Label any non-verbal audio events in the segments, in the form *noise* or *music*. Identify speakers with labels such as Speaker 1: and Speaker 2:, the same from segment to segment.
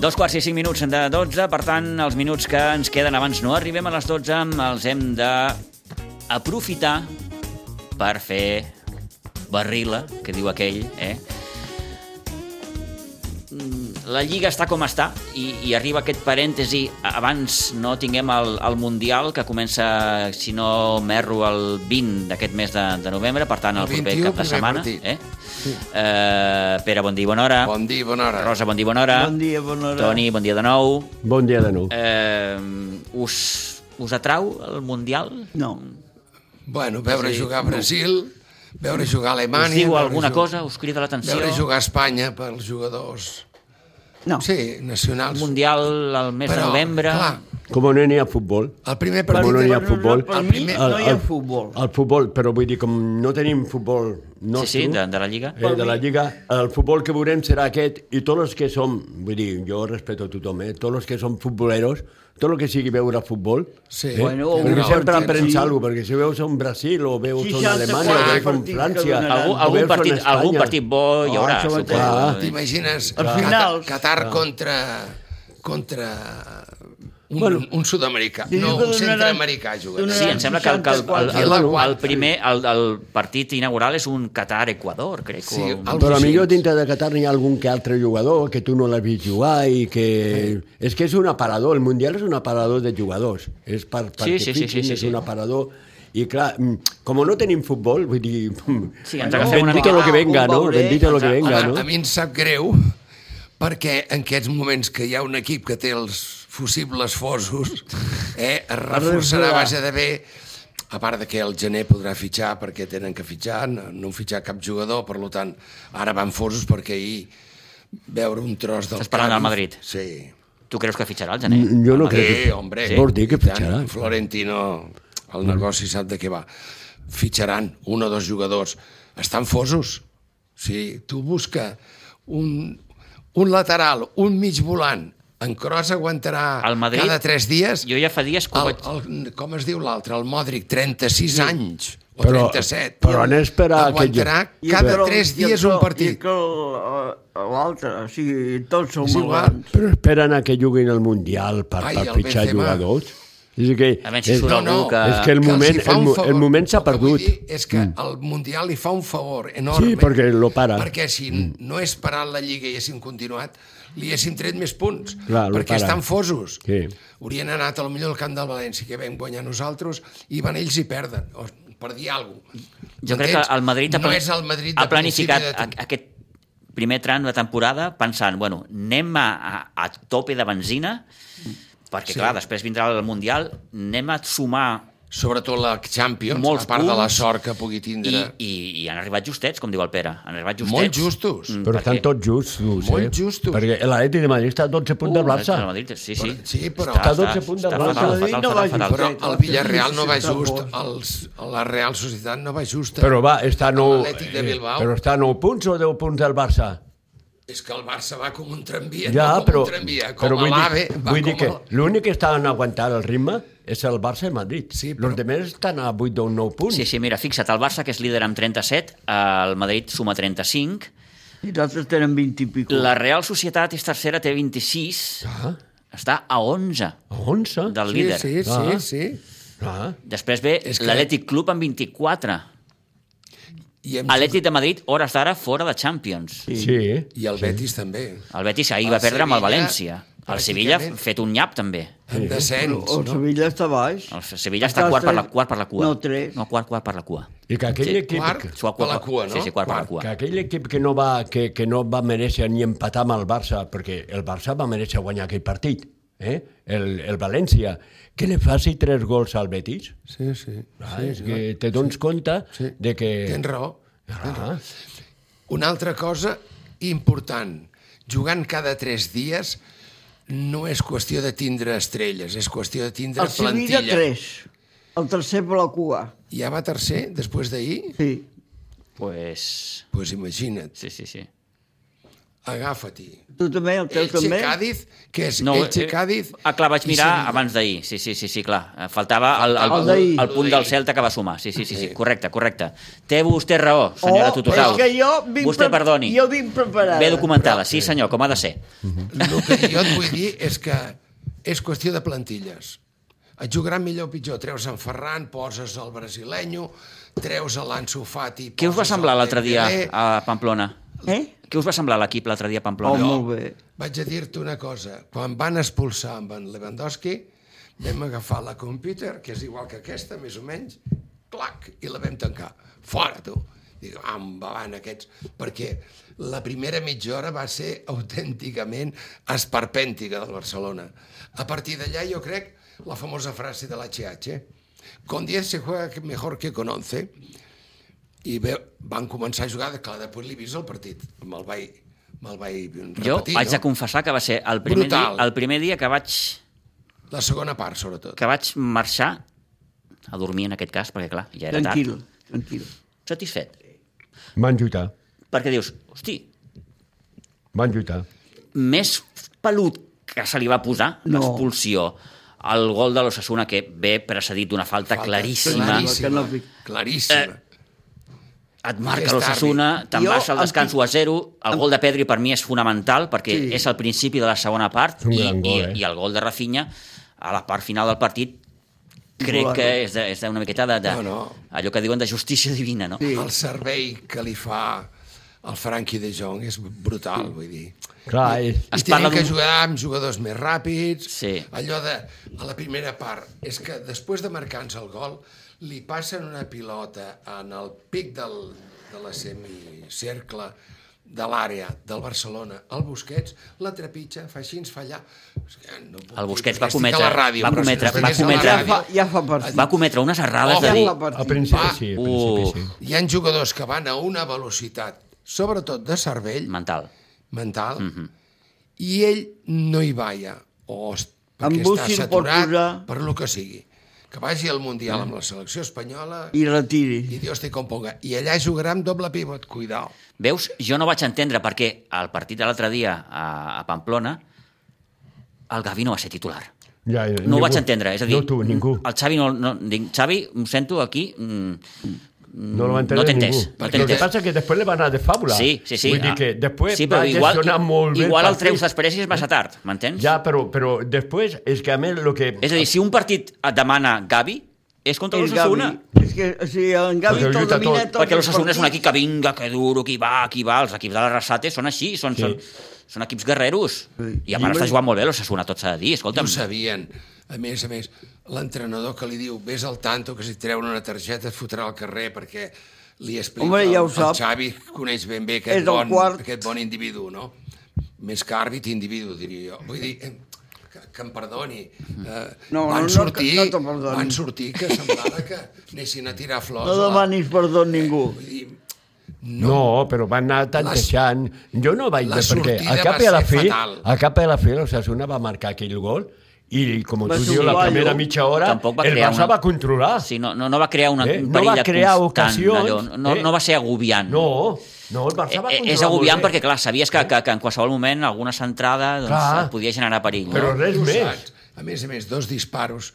Speaker 1: Dos quarts i cinc minuts de 12, per tant, els minuts que ens queden abans no arribem a les 12, els hem de aprofitar per fer barrila, que diu aquell, eh? Mm, La Lliga està com està i, i arriba aquest parèntesi abans no tinguem el, el Mundial que comença, si no m'erro, el 20 d'aquest mes de, de novembre, per tant, el,
Speaker 2: El
Speaker 1: proper
Speaker 2: 21,
Speaker 1: cap de
Speaker 2: primer
Speaker 1: setmana.
Speaker 2: partit.
Speaker 1: Eh? Eh, Pere, bon dia, i bona hora.
Speaker 2: Bon dia, bona hora.
Speaker 1: Rosa, bon dia, i bona hora.
Speaker 3: Bon dia, bona hora.
Speaker 1: Toni, bon dia de nou.
Speaker 4: Bon dia de nou.
Speaker 1: Eh, us, us atrau el Mundial?
Speaker 3: No.
Speaker 2: Bueno, veure jugar a Brasil, veure jugar a
Speaker 1: Us
Speaker 2: Alemanya...
Speaker 1: diu
Speaker 2: veure
Speaker 1: alguna
Speaker 2: ju-
Speaker 1: cosa? Us crida l'atenció?
Speaker 2: Veure jugar a Espanya pels jugadors,
Speaker 3: No.
Speaker 2: sí,
Speaker 1: El
Speaker 2: nacionals.
Speaker 1: Mundial al mes de novembre?
Speaker 2: Clar,
Speaker 4: Com no n'hi ha futbol,
Speaker 2: el primer
Speaker 4: com
Speaker 2: partit...
Speaker 4: no n'hi ha
Speaker 2: era-
Speaker 4: futbol...
Speaker 3: Per
Speaker 2: El
Speaker 3: mi
Speaker 2: primer-
Speaker 3: no hi ha
Speaker 4: el-
Speaker 3: futbol.
Speaker 4: El futbol, però vull dir, com no tenim futbol
Speaker 1: Sí,
Speaker 4: nostre...
Speaker 1: sí, de, de la Lliga.
Speaker 4: Eh, de la Lliga, el futbol que veurem serà aquest i tots els que som, vull dir, jo respeto a tothom, eh? tots els que som futboleros, tot el que sigui veure futbol,
Speaker 2: Sí.
Speaker 4: eh?
Speaker 2: Bueno,
Speaker 4: perquè
Speaker 2: un
Speaker 4: sempre
Speaker 2: partit,
Speaker 4: aprens
Speaker 3: sí.
Speaker 4: alguna cosa, perquè si veus un Brasil o veus un
Speaker 3: 64
Speaker 4: Alemanya o veus un
Speaker 3: partits que
Speaker 4: França...
Speaker 3: donaran.
Speaker 1: Algú,
Speaker 4: o
Speaker 1: algun,
Speaker 4: veus un
Speaker 1: partit,
Speaker 4: Espanya.
Speaker 1: algun partit bo hi
Speaker 4: Ah,
Speaker 1: haurà,
Speaker 4: això mateix.
Speaker 1: suposo.
Speaker 2: T'imagines
Speaker 3: Els
Speaker 2: Cata-
Speaker 3: finals.
Speaker 1: Ah.
Speaker 2: Qatar contra contra un,
Speaker 4: Bueno.
Speaker 2: un sud-americà,
Speaker 3: Diu
Speaker 2: no,
Speaker 3: que
Speaker 2: un
Speaker 3: donaran-
Speaker 2: centre-americà jugarà.
Speaker 1: Sí, em sembla que el, que el, el, el, el,
Speaker 2: 64.
Speaker 1: primer, el, el partit inaugural és un Qatar-Equador, crec.
Speaker 2: Sí,
Speaker 1: o un-
Speaker 2: el-
Speaker 4: Però
Speaker 2: Sí.
Speaker 4: millor dintre de Qatar n'hi ha algun que altre jugador que tu no l'has vist jugar i que...
Speaker 1: Eh.
Speaker 4: És que és un aparador, el Mundial és un aparador de jugadors. És per, perquè
Speaker 1: sí, sí,
Speaker 4: fitxin,
Speaker 1: sí,
Speaker 4: és
Speaker 1: sí.
Speaker 4: un aparador... I clar, mm, com no tenim futbol, vull dir...
Speaker 1: Sí,
Speaker 4: *laughs*
Speaker 1: ens agafem una
Speaker 4: bendito
Speaker 1: mica-
Speaker 4: lo que venga,
Speaker 3: Ah, un
Speaker 4: no?
Speaker 3: baulet,
Speaker 4: Bendito lo que
Speaker 1: ens-
Speaker 4: venga,
Speaker 2: Home,
Speaker 4: no?
Speaker 2: A mi em sap greu perquè en aquests moments que hi ha un equip que té els fusibles fosos, eh, es reforçarà a base de bé, a part de que el gener podrà fitxar perquè tenen que fitxar, no, no han fitxat cap jugador, per lo tant, ara van fosos perquè ahir veure un tros del...
Speaker 1: Estàs parlant del
Speaker 2: Cádiz-
Speaker 1: Madrid?
Speaker 2: Sí.
Speaker 1: Tu creus que fitxarà el gener?
Speaker 4: Mm, jo no
Speaker 1: El
Speaker 4: crec.
Speaker 1: Madrid?
Speaker 2: Sí, hombre.
Speaker 1: Sí.
Speaker 4: Vols dir que
Speaker 2: I tant,
Speaker 4: fitxaran? Mm.
Speaker 2: Florentino, el negoci sap de què va. Fitxaran un o dos jugadors. Estan fosos. Sí, tu busca un, un lateral, un mig volant. En Kroos aguantarà
Speaker 1: El Madrid-
Speaker 2: cada tres dies.
Speaker 1: Jo ja fa dies que ho
Speaker 2: El,
Speaker 1: vaig...
Speaker 2: el, com es diu l'altre? El Modric, 36 anys o
Speaker 4: Però-
Speaker 2: 37.
Speaker 4: però han d'esperar que jo-
Speaker 2: Aguantarà
Speaker 3: I
Speaker 2: cada
Speaker 3: però-
Speaker 2: tres
Speaker 3: i
Speaker 2: dies
Speaker 3: però-
Speaker 2: un
Speaker 3: I
Speaker 2: partit.
Speaker 3: que el- l'altre, o sigui, tots són
Speaker 2: És
Speaker 3: molt
Speaker 2: igual.
Speaker 3: grans.
Speaker 4: Però esperen a que juguin al Mundial per,
Speaker 2: Ai,
Speaker 4: per
Speaker 2: el
Speaker 4: fitxar
Speaker 2: Benzema.
Speaker 4: jugadors. És que,
Speaker 1: A veure si surt
Speaker 2: No, no.
Speaker 1: algú que...
Speaker 4: És que el
Speaker 2: els hi
Speaker 4: moment-
Speaker 2: fa
Speaker 4: el
Speaker 2: un
Speaker 4: mo- el moment s'ha
Speaker 2: El que vull
Speaker 4: perdut. Mm.
Speaker 2: dir És que el Mundial li fa un favor enorme.
Speaker 4: Sí, perquè lo para. Mm.
Speaker 2: Perquè si no és parat la Lliga i haguéssim continuat, li haguéssim tret més punts.
Speaker 4: Clar, lo
Speaker 2: perquè
Speaker 4: para.
Speaker 2: estan fosos.
Speaker 4: Sí.
Speaker 2: Haurien anat a lo millor al camp del València, que vam guanyar nosaltres, i van ells i perden. O per dir alguna cosa.
Speaker 1: Jo crec que el Madrid ha,
Speaker 2: no
Speaker 1: plan-
Speaker 2: és el Madrid de
Speaker 1: ha planificat
Speaker 2: principi de
Speaker 1: a,
Speaker 2: temporada.
Speaker 1: aquest primer tram de temporada pensant, bueno, anem a, a, a tope de benzina, perquè, sí. clar, després vindrà el Mundial, anem a sumar
Speaker 2: Sobretot la Champions,
Speaker 1: Molts
Speaker 2: a part de la
Speaker 1: punts
Speaker 2: sort que pugui
Speaker 1: i,
Speaker 2: tindre.
Speaker 1: i, i han arribat justets, com diu el Pere. Han arribat justets.
Speaker 2: Molt justos.
Speaker 1: Mm,
Speaker 4: Però
Speaker 1: perquè-
Speaker 4: estan tots justos, eh?
Speaker 2: Molt justos.
Speaker 4: Perquè l'Atlètic de Madrid està a 12 punts de
Speaker 1: Uh,
Speaker 4: Barça.
Speaker 1: el Madrid, sí, sí.
Speaker 2: Sí, però-
Speaker 4: Està a 12 punts del
Speaker 1: està
Speaker 4: Barça.
Speaker 1: fatal,
Speaker 4: El Madrid
Speaker 1: fatal,
Speaker 3: no
Speaker 1: fatal, fatal.
Speaker 3: va jugar.
Speaker 2: Però
Speaker 3: Fet,
Speaker 2: el
Speaker 3: el
Speaker 2: Villarreal no va
Speaker 3: Villarreal
Speaker 2: just,
Speaker 3: sí està
Speaker 2: els, la Real Societat no va justa.
Speaker 4: Però va, està a 9...
Speaker 2: L'Atlètic de Bilbao.
Speaker 4: Però està a 9 punts o 10 punts del Barça?
Speaker 2: És que el Barça va com un tramvia,
Speaker 4: Ja,
Speaker 2: no com
Speaker 4: però,
Speaker 2: un tramvia, com
Speaker 4: però
Speaker 2: a E.
Speaker 4: vull,
Speaker 2: l'AVE.
Speaker 4: dir,
Speaker 2: va
Speaker 4: vull
Speaker 2: com
Speaker 4: dir que
Speaker 2: el-
Speaker 4: l'únic que estan aguantant el ritme és el Barça i Madrid.
Speaker 2: Sí, però-
Speaker 4: però... Los demés estan a 8 o 9 punts.
Speaker 1: Sí, sí, mira, fixa't, el Barça, que és líder amb 37, el Madrid suma 35,
Speaker 3: I d'altres tenen 20 i pico.
Speaker 1: la Real Societat és tercera, té 26,
Speaker 4: Ah,
Speaker 1: està a 11
Speaker 4: a 11?
Speaker 1: del líder.
Speaker 2: Sí, sí,
Speaker 4: Ah.
Speaker 2: sí,
Speaker 4: Ah,
Speaker 1: Després ve
Speaker 2: És que-
Speaker 1: l'Atlètic Club amb 24.
Speaker 2: sí. I, hem,
Speaker 1: Atlètic de Madrid, hores d'ara, fora de Champions.
Speaker 4: sí.
Speaker 2: I el Betis també.
Speaker 1: El Betis ahir
Speaker 2: El
Speaker 1: va perdre amb el
Speaker 2: Sevilla,
Speaker 1: València. El Sevilla ha
Speaker 2: pràcticament.
Speaker 1: fet un nyap, també.
Speaker 2: En descens,
Speaker 3: El
Speaker 2: no?
Speaker 3: Sevilla està baix.
Speaker 1: El Sevilla està
Speaker 3: a
Speaker 1: quart per la,
Speaker 3: tres-
Speaker 1: quart per la cua.
Speaker 3: No, tres.
Speaker 1: No, quart, quart per la cua.
Speaker 4: I que aquell
Speaker 1: Sí,
Speaker 4: equip...
Speaker 2: Quart
Speaker 4: que-
Speaker 1: Sua-
Speaker 2: per la cua, no?
Speaker 1: Sí, sí, quart, per la
Speaker 2: Quart.
Speaker 1: cua.
Speaker 4: Que aquell equip que no, va, que, que no va mereixer ni empatar amb el Barça, perquè el Barça va mereixer guanyar aquell partit, eh? el, el València, que li faci tres gols al Betis,
Speaker 2: Sí, sí.
Speaker 4: ah, sí, és que te dones sí. compte sí. de que...
Speaker 2: Tens raó.
Speaker 4: Ah,
Speaker 2: Una altra cosa important. jugant cada tres dies no és qüestió de tindre estrelles, és qüestió de tindre
Speaker 3: El Sevilla,
Speaker 2: plantilla.
Speaker 3: 3. El tercer per la cua.
Speaker 2: Ja va tercer, després d'ahir?
Speaker 3: Sí.
Speaker 1: Pues...
Speaker 2: Doncs pues imagina't,
Speaker 1: Sí, sí, sí.
Speaker 2: agafa-t'hi.
Speaker 3: Tu també, el teu
Speaker 2: Elche
Speaker 3: també?
Speaker 2: Cádiz, Eh, que és no, Elche Cádiz...
Speaker 1: Ah, clar, vaig
Speaker 2: i
Speaker 1: mirar
Speaker 2: Sevilla.
Speaker 1: abans d'ahir. Sí, sí, sí, sí, clar. Eh, Faltava el, el,
Speaker 3: El
Speaker 1: el,
Speaker 3: d'ahir.
Speaker 1: el punt del Celta que va sumar. Sí, sí, sí, sí. correcte, correcte. Té vostè raó, senyora
Speaker 3: Oh,
Speaker 1: Tututau.
Speaker 3: és que jo vinc
Speaker 1: vostè,
Speaker 3: pre-
Speaker 1: perdoni.
Speaker 3: jo vinc preparada.
Speaker 1: Bé documentada, sí senyor, com ha de ser.
Speaker 2: El que jo et vull dir és que és qüestió de plantilles. Et jugaran millor o pitjor. Treus en Ferran, poses el brasilenyo, treus l'Anso Fati...
Speaker 1: Què us va
Speaker 2: poses
Speaker 1: semblar
Speaker 2: el
Speaker 1: l'altre dia
Speaker 2: Dembélé.
Speaker 1: a Pamplona?
Speaker 3: Eh?
Speaker 1: Què us va semblar l'equip l'altre dia a
Speaker 3: Oh,
Speaker 1: Pamplona?
Speaker 3: molt bé.
Speaker 2: Vaig a dir-te una cosa. Quan van expulsar amb en Lewandowski, vam agafar la computer, que és igual que aquesta, més o menys, clac, i la vam tancar. Fora, tu! Dic, endavant aquests... Perquè la primera mitja hora va ser autènticament esperpèntica del Barcelona. A partir d'allà, jo crec, la famosa frase de l'HH, con 10 se juega mejor que con 11, i bé, van començar a jugar, clar, després l'he vist el partit, me'l vaig, me'l vaig repetir.
Speaker 1: Jo haig
Speaker 2: no?
Speaker 1: de confessar que va ser el primer, dia,
Speaker 2: Brutal.
Speaker 1: el primer dia que vaig,
Speaker 2: La segona part, sobretot.
Speaker 1: que vaig marxar a dormir, en aquest cas, perquè, clar, ja era
Speaker 3: Tranquil, tranquil.
Speaker 1: tard. Satisfet.
Speaker 4: Van lluitar,
Speaker 1: Perquè dius, hosti,
Speaker 4: van lluitar.
Speaker 1: més pelut que se li va posar
Speaker 3: No.
Speaker 1: l'expulsió el gol de l'Ossassuna que ve precedit d'una falta,
Speaker 2: Falta
Speaker 1: claríssima. Eh,
Speaker 2: Claríssima.
Speaker 3: Que no-
Speaker 2: claríssima.
Speaker 1: et marca
Speaker 2: Aquest
Speaker 1: l'Ossassuna, te'n
Speaker 3: Jo,
Speaker 1: vas al
Speaker 3: em-
Speaker 1: descanso a zero, el gol de Pedri per mi és fonamental perquè
Speaker 3: Sí.
Speaker 1: és el principi de la segona part
Speaker 4: És un
Speaker 1: i,
Speaker 4: gran gol,
Speaker 1: i,
Speaker 4: eh?
Speaker 1: i el gol de Rafinha a la part final del partit crec
Speaker 3: Golazo.
Speaker 1: que és, de, és de una miqueta de, de,
Speaker 2: No, no.
Speaker 1: allò que diuen de justícia divina, no?
Speaker 3: Sí.
Speaker 2: El servei que li fa el Frankie de Jong és brutal, vull dir.
Speaker 4: Clar, eh, és...
Speaker 1: Es
Speaker 2: Es I tenen
Speaker 1: parla
Speaker 2: que
Speaker 1: d'un-
Speaker 2: jugar amb jugadors més ràpids.
Speaker 1: Sí.
Speaker 2: Allò de, a la primera part, és que després de marcar-nos el gol, li passen una pilota en el pic del, de la semicercle de l'àrea del Barcelona al Busquets, la trepitja, fa així, ens fa allà. És que No puc
Speaker 1: El
Speaker 2: dir,
Speaker 1: Busquets
Speaker 2: perquè
Speaker 1: va
Speaker 2: estic
Speaker 1: cometre-
Speaker 2: a la ràdio,
Speaker 1: va
Speaker 2: però si
Speaker 1: cometre-
Speaker 2: estigués
Speaker 1: va
Speaker 2: a la
Speaker 1: cometre-
Speaker 3: Ja
Speaker 2: ràdio-
Speaker 3: fa, ja fa partit.
Speaker 1: Va cometre unes errades
Speaker 2: Oh,
Speaker 1: de dir...
Speaker 3: la part-
Speaker 4: A principi,
Speaker 2: Va.
Speaker 4: sí, a principi,
Speaker 1: Uf.
Speaker 4: sí.
Speaker 2: Hi han jugadors que van a una velocitat, sobretot de cervell,
Speaker 1: Mental.
Speaker 2: mental,
Speaker 1: Mhm.
Speaker 2: i ell no hi va ja, o es- perquè està
Speaker 3: Bussi el pot
Speaker 2: saturat,
Speaker 3: posar.
Speaker 2: per lo que sigui. Que vagi al
Speaker 1: Mm.
Speaker 2: Mundial amb la selecció espanyola i,
Speaker 3: I retiri.
Speaker 2: i Dios te componga. I allà jugarà amb doble pivot, cuidao.
Speaker 1: Veus, jo no vaig entendre per què al partit de l'altre dia a, a Pamplona el Gavi no va ser titular.
Speaker 4: Ja, ja,
Speaker 1: No
Speaker 4: ningú.
Speaker 1: ho vaig entendre, és a dir...
Speaker 4: No tu, ningú.
Speaker 1: El Xavi no... no dic, Xavi, em sento aquí... Mm,
Speaker 4: No lo va entendre
Speaker 1: no t'he entès,
Speaker 4: ningú.
Speaker 1: no t'he
Speaker 4: Lo que
Speaker 1: entès.
Speaker 4: passa que després li va anar de fàbula.
Speaker 1: Sí, sí, sí.
Speaker 4: Vull
Speaker 1: ah,
Speaker 4: dir que després
Speaker 1: sí,
Speaker 4: va
Speaker 1: però igual,
Speaker 4: gestionar molt bé
Speaker 1: Igual el
Speaker 4: partit.
Speaker 1: treus després i és massa tard, m'entens?
Speaker 4: Ja, però, però després és que a més el que...
Speaker 1: És a dir, si un partit et demana Gavi, és contra
Speaker 3: És Gavi.
Speaker 1: l'Ossassuna.
Speaker 3: És que, o sigui, en Gavi
Speaker 4: Perquè
Speaker 3: te'l
Speaker 4: lluita
Speaker 3: domina
Speaker 4: tot.
Speaker 3: tot.
Speaker 1: Perquè
Speaker 3: el
Speaker 1: l'Ossassuna és un
Speaker 3: partit.
Speaker 1: equip que vinga, que duro, qui va, qui va. Els equips de la Rassate són així, són,
Speaker 4: Sí.
Speaker 1: sí. són, són equips guerreros.
Speaker 3: Sí.
Speaker 1: I a part està jugant molt bé l'Ossassuna, tot s'ha de dir,
Speaker 2: Ho
Speaker 1: escolta'm.
Speaker 2: sabien. A més, a més, l'entrenador que li diu vés al tanto que si et treuen una targeta et fotrà al carrer perquè li explica
Speaker 3: Home, ja ho
Speaker 2: el,
Speaker 3: sap.
Speaker 2: el Xavi coneix ben bé
Speaker 3: És
Speaker 2: aquest
Speaker 3: el
Speaker 2: bon,
Speaker 3: quart.
Speaker 2: aquest bon individu, no? Més que àrbit, individu, diria jo. Vull dir, eh, que, que em perdoni. Eh,
Speaker 3: No, no, no,
Speaker 2: van sortir,
Speaker 3: que no te perdoni.
Speaker 2: van sortir que semblava que anessin a tirar flors.
Speaker 3: No
Speaker 2: a la-
Speaker 3: demanis perdó a ningú.
Speaker 2: Vull dir,
Speaker 4: No, però va anar tantejant. Jo no vaig
Speaker 2: la
Speaker 4: dir perquè
Speaker 2: sortida
Speaker 4: a cap
Speaker 2: va
Speaker 4: i a la
Speaker 2: ser
Speaker 4: fi,
Speaker 2: fatal.
Speaker 4: a cap i a la fi l'Osasuna va marcar aquell gol i com
Speaker 3: Va
Speaker 4: tu
Speaker 3: ser un
Speaker 4: dius, la
Speaker 3: guanyo.
Speaker 4: primera mitja hora
Speaker 1: Tampoc va
Speaker 4: el
Speaker 1: crear
Speaker 4: Barça
Speaker 1: una-
Speaker 4: va controlar.
Speaker 1: Sí, no, no, no va crear una,
Speaker 4: Eh?
Speaker 1: un
Speaker 4: No
Speaker 1: perill
Speaker 4: va
Speaker 1: de
Speaker 4: crear
Speaker 1: constant.
Speaker 4: ocasions,
Speaker 1: allò. No,
Speaker 4: eh?
Speaker 1: no va ser agobiant.
Speaker 4: No, no, el Barça va
Speaker 1: Eh, eh,
Speaker 4: controlar
Speaker 1: és agobiant
Speaker 4: molt bé.
Speaker 1: perquè, clar, sabies que, que, que en qualsevol moment alguna centrada doncs,
Speaker 4: Clar.
Speaker 1: et podia generar perill.
Speaker 4: Però
Speaker 1: no?
Speaker 4: res
Speaker 2: Tu ho
Speaker 4: més.
Speaker 2: saps. A més a més, dos disparos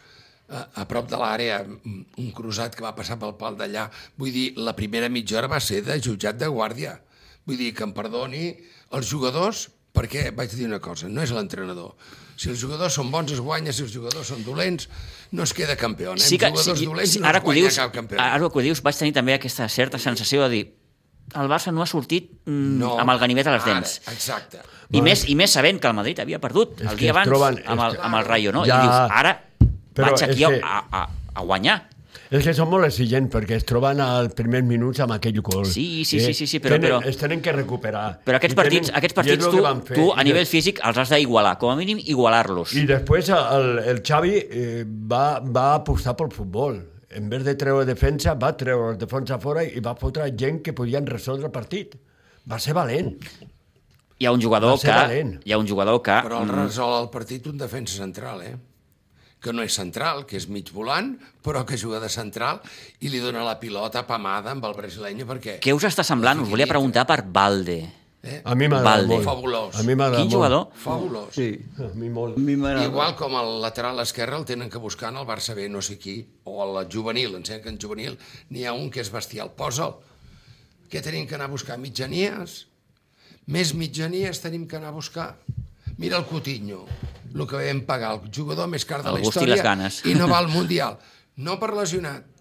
Speaker 2: a, a prop de l'àrea, mm, un cruzat que va passar pel pal d'allà. Vull dir, la primera mitja hora va ser de jutjat de guàrdia. Vull dir, que em perdoni els jugadors, perquè vaig dir una cosa, no és l'entrenador. Si els jugadors són bons es guanya, si els jugadors són dolents no es queda campió. Eh?
Speaker 1: sí que,
Speaker 2: els jugadors
Speaker 1: sí,
Speaker 2: dolents
Speaker 1: sí,
Speaker 2: no
Speaker 1: ara
Speaker 2: es
Speaker 1: que ho
Speaker 2: guanya
Speaker 1: dius,
Speaker 2: cap campió.
Speaker 1: ara que ho dius, vaig tenir també aquesta certa sensació de dir el Barça no ha sortit mm,
Speaker 2: No.
Speaker 1: amb el ganivet a les
Speaker 2: Ara,
Speaker 1: dents.
Speaker 2: Exacte.
Speaker 1: I més, I més sabent que el Madrid havia perdut
Speaker 4: És
Speaker 1: el
Speaker 4: que
Speaker 1: dia
Speaker 4: es
Speaker 1: abans
Speaker 4: troben- és
Speaker 1: amb, el,
Speaker 4: que-
Speaker 1: amb el Rayo, no?
Speaker 4: Ja.
Speaker 1: I dius, ara
Speaker 4: Però
Speaker 1: vaig
Speaker 4: és
Speaker 1: aquí a,
Speaker 4: que-
Speaker 1: a, a, a guanyar.
Speaker 4: És que són molt exigents perquè es troben als primers minuts amb aquell gol. Eh,
Speaker 1: Sí, sí, sí, sí, sí, però-
Speaker 4: tenen,
Speaker 1: però-
Speaker 4: Es tenen que recuperar.
Speaker 1: Però aquests
Speaker 4: I tenen-
Speaker 1: partits, aquests
Speaker 4: i és
Speaker 1: partits
Speaker 4: el
Speaker 1: tu,
Speaker 4: que van fer.
Speaker 1: tu a
Speaker 4: I
Speaker 1: nivell físic els has d'igualar, com a mínim igualar-los.
Speaker 4: I després el, el Xavi eh, va, va apostar pel futbol. En vez de treure defensa, va treure els defensa fora i va fotre gent que podien resoldre el partit. Va ser valent.
Speaker 1: hi ha un jugador
Speaker 4: Va ser
Speaker 1: que...
Speaker 4: valent.
Speaker 1: Hi ha un jugador que... mm,
Speaker 2: Però
Speaker 4: Mm.
Speaker 2: el resol el partit un defensa central, eh? que no és central, que és mig volant, però que juga de central i li dona la pilota pamada amb el brasileño perquè...
Speaker 1: Què us està semblant? Us volia preguntar per Valde.
Speaker 2: Eh?
Speaker 4: A mi m'agrada
Speaker 1: Valde.
Speaker 4: molt.
Speaker 2: Fabulós.
Speaker 4: A mi m'agrada
Speaker 1: Quin
Speaker 4: molt.
Speaker 1: jugador?
Speaker 2: Fabulós.
Speaker 3: Sí,
Speaker 4: A mi molt.
Speaker 3: a mi m'agrada.
Speaker 2: Igual com el lateral esquerre el tenen que buscar en el Barça B, no sé qui, o a la juvenil, em sembla que en juvenil n'hi ha un que és bestial, posa'l. Què tenim que anar a buscar? Mitjanies? Més mitjanies tenim que anar a buscar. Mira el Coutinho, el que vam pagar, el jugador més car de
Speaker 1: El
Speaker 2: la
Speaker 1: gust i
Speaker 2: història,
Speaker 1: les ganes.
Speaker 2: i no va al Mundial. No per lesionat,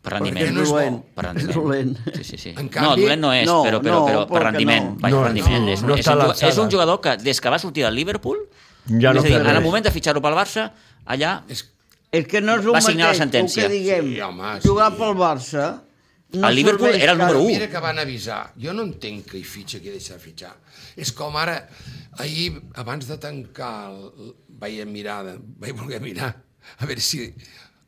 Speaker 1: Per
Speaker 3: Perquè
Speaker 1: rendiment.
Speaker 3: és
Speaker 2: no és bo.
Speaker 3: dolent.
Speaker 1: Per
Speaker 3: És
Speaker 1: rendiment.
Speaker 3: dolent.
Speaker 1: Sí, sí, sí.
Speaker 2: En
Speaker 1: no,
Speaker 2: canvi-
Speaker 1: dolent no és,
Speaker 3: No,
Speaker 1: però, però,
Speaker 3: no,
Speaker 1: però per
Speaker 3: però que
Speaker 1: rendiment.
Speaker 3: no.
Speaker 1: Vaja,
Speaker 4: No,
Speaker 1: per rendiment
Speaker 4: no,
Speaker 1: és,
Speaker 4: no
Speaker 1: és,
Speaker 4: està a
Speaker 1: un, ju-
Speaker 4: l'alçada.
Speaker 1: és un jugador que des que va sortir del Liverpool,
Speaker 4: Ja no
Speaker 1: és a dir,
Speaker 4: fa
Speaker 1: en el
Speaker 4: res.
Speaker 1: moment de fitxar-ho pel Barça, allà
Speaker 2: és
Speaker 3: És que no és el
Speaker 1: Va signar la
Speaker 3: mateix,
Speaker 1: sentència.
Speaker 3: el que diguem.
Speaker 2: Sí, home,
Speaker 3: Jugar
Speaker 2: sí.
Speaker 3: pel Barça...
Speaker 1: El Liverpool
Speaker 3: serveix
Speaker 1: era el
Speaker 3: cap-
Speaker 1: número u.
Speaker 2: Mira que van avisar. Jo no entenc que hi fitxa, que hi deixa de fitxar. És com ara, ahir, abans de tancar, el, vaig mirar, de- vaig voler mirar, a veure si